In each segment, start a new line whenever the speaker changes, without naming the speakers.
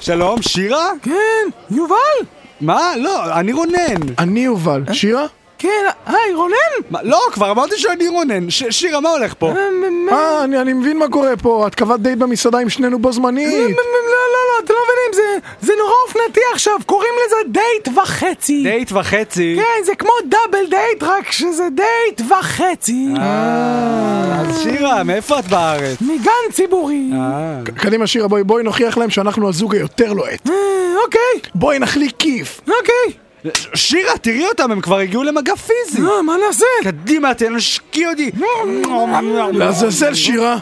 שלום, שירה?
כן, יובל!
מה? לא, אני רונן.
אני יובל. שירה?
כן, היי, רונן!
מה, לא, כבר אמרתי שאני רונן. ש- שירה, מה הולך פה?
אה, מ- מ-
אה, אני, אני מבין מה קורה פה, את קבעת דייט במסעדה עם שנינו בו
מ-
זמנית.
מ- לא, לא, לא, אתם לא מבינים, זה- זה נורא אופנתי עכשיו, קוראים לזה דייט וחצי.
דייט וחצי.
כן, זה כמו דאבל דייט, רק שזה דייט וחצי.
אה, אז שירה, מאיפה את בארץ?
מגן ציבורי.
אה.
קדימה שירה, בואי, בואי נוכיח להם שאנחנו הזוג היותר לוהט.
אה, אוקיי,
בואי נחליק כיף.
אוקיי.
ש- שירה, תראי אותם, הם כבר הגיעו למגע פיזי.
אה, מה נעשה?
כן.
קדימה, תנשקי אותי.
לעזאזל שירה.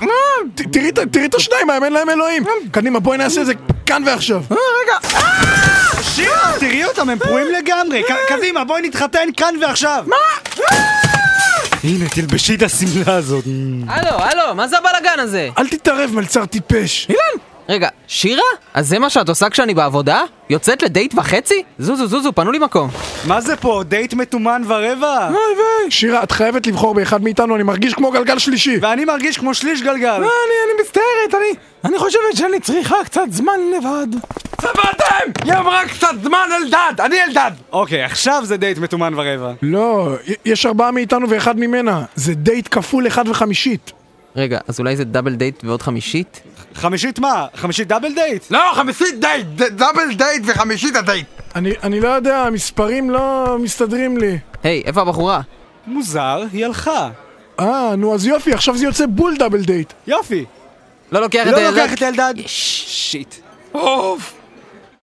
ת- תראי את- תראי את השניים האלה, אין להם אלוהים. קדימה, בואי נעשה את זה כאן ועכשיו.
אה, רגע, אה,
שירה, תראי אותם, הם פרועים לגמרי. ק- קדימה, בואי נתחתן כאן ועכשיו. מה? הנה, תלבשי את השמלה הזאת.
הלו, הלו, מה זה הבלאגן הזה?
אל תתערב, מלצר טיפש.
אילן!
רגע, שירה? אז זה מה שאת עושה כשאני בעבודה? יוצאת לדייט וחצי? זוזו, זוזו, פנו לי מקום.
מה זה פה, דייט מתומן ורבע?
אוי ויי.
שירה, את חייבת לבחור באחד מאיתנו, אני מרגיש כמו גלגל שלישי.
ואני מרגיש כמו שליש גלגל.
אה, אני, אני מצטערת, אני, אני חושבת שאני צריכה קצת זמן לבד.
צבעתם! היא אמרה קצת זמן אלדד, אני אלדד!
אוקיי, עכשיו זה דייט מתומן ורבע.
לא, י- יש ארבעה מאיתנו ואחד ממנה. זה דייט כפול אחד וחמישית.
רגע, אז אולי זה דאבל דייט ועוד חמישית?
חמישית מה? חמישית דאבל דייט?
לא, חמישית דייט, ד- דאבל דייט וחמישית הדייט.
אני, אני לא יודע, המספרים לא מסתדרים לי.
היי, איפה הבחורה?
מוזר, היא הלכה.
אה, נו אז יופי, עכשיו זה יוצא בול דאבל דייט.
יופי.
לא לוקח את
לא
הילד-
לוקח את אלדד. שיט.
אוף!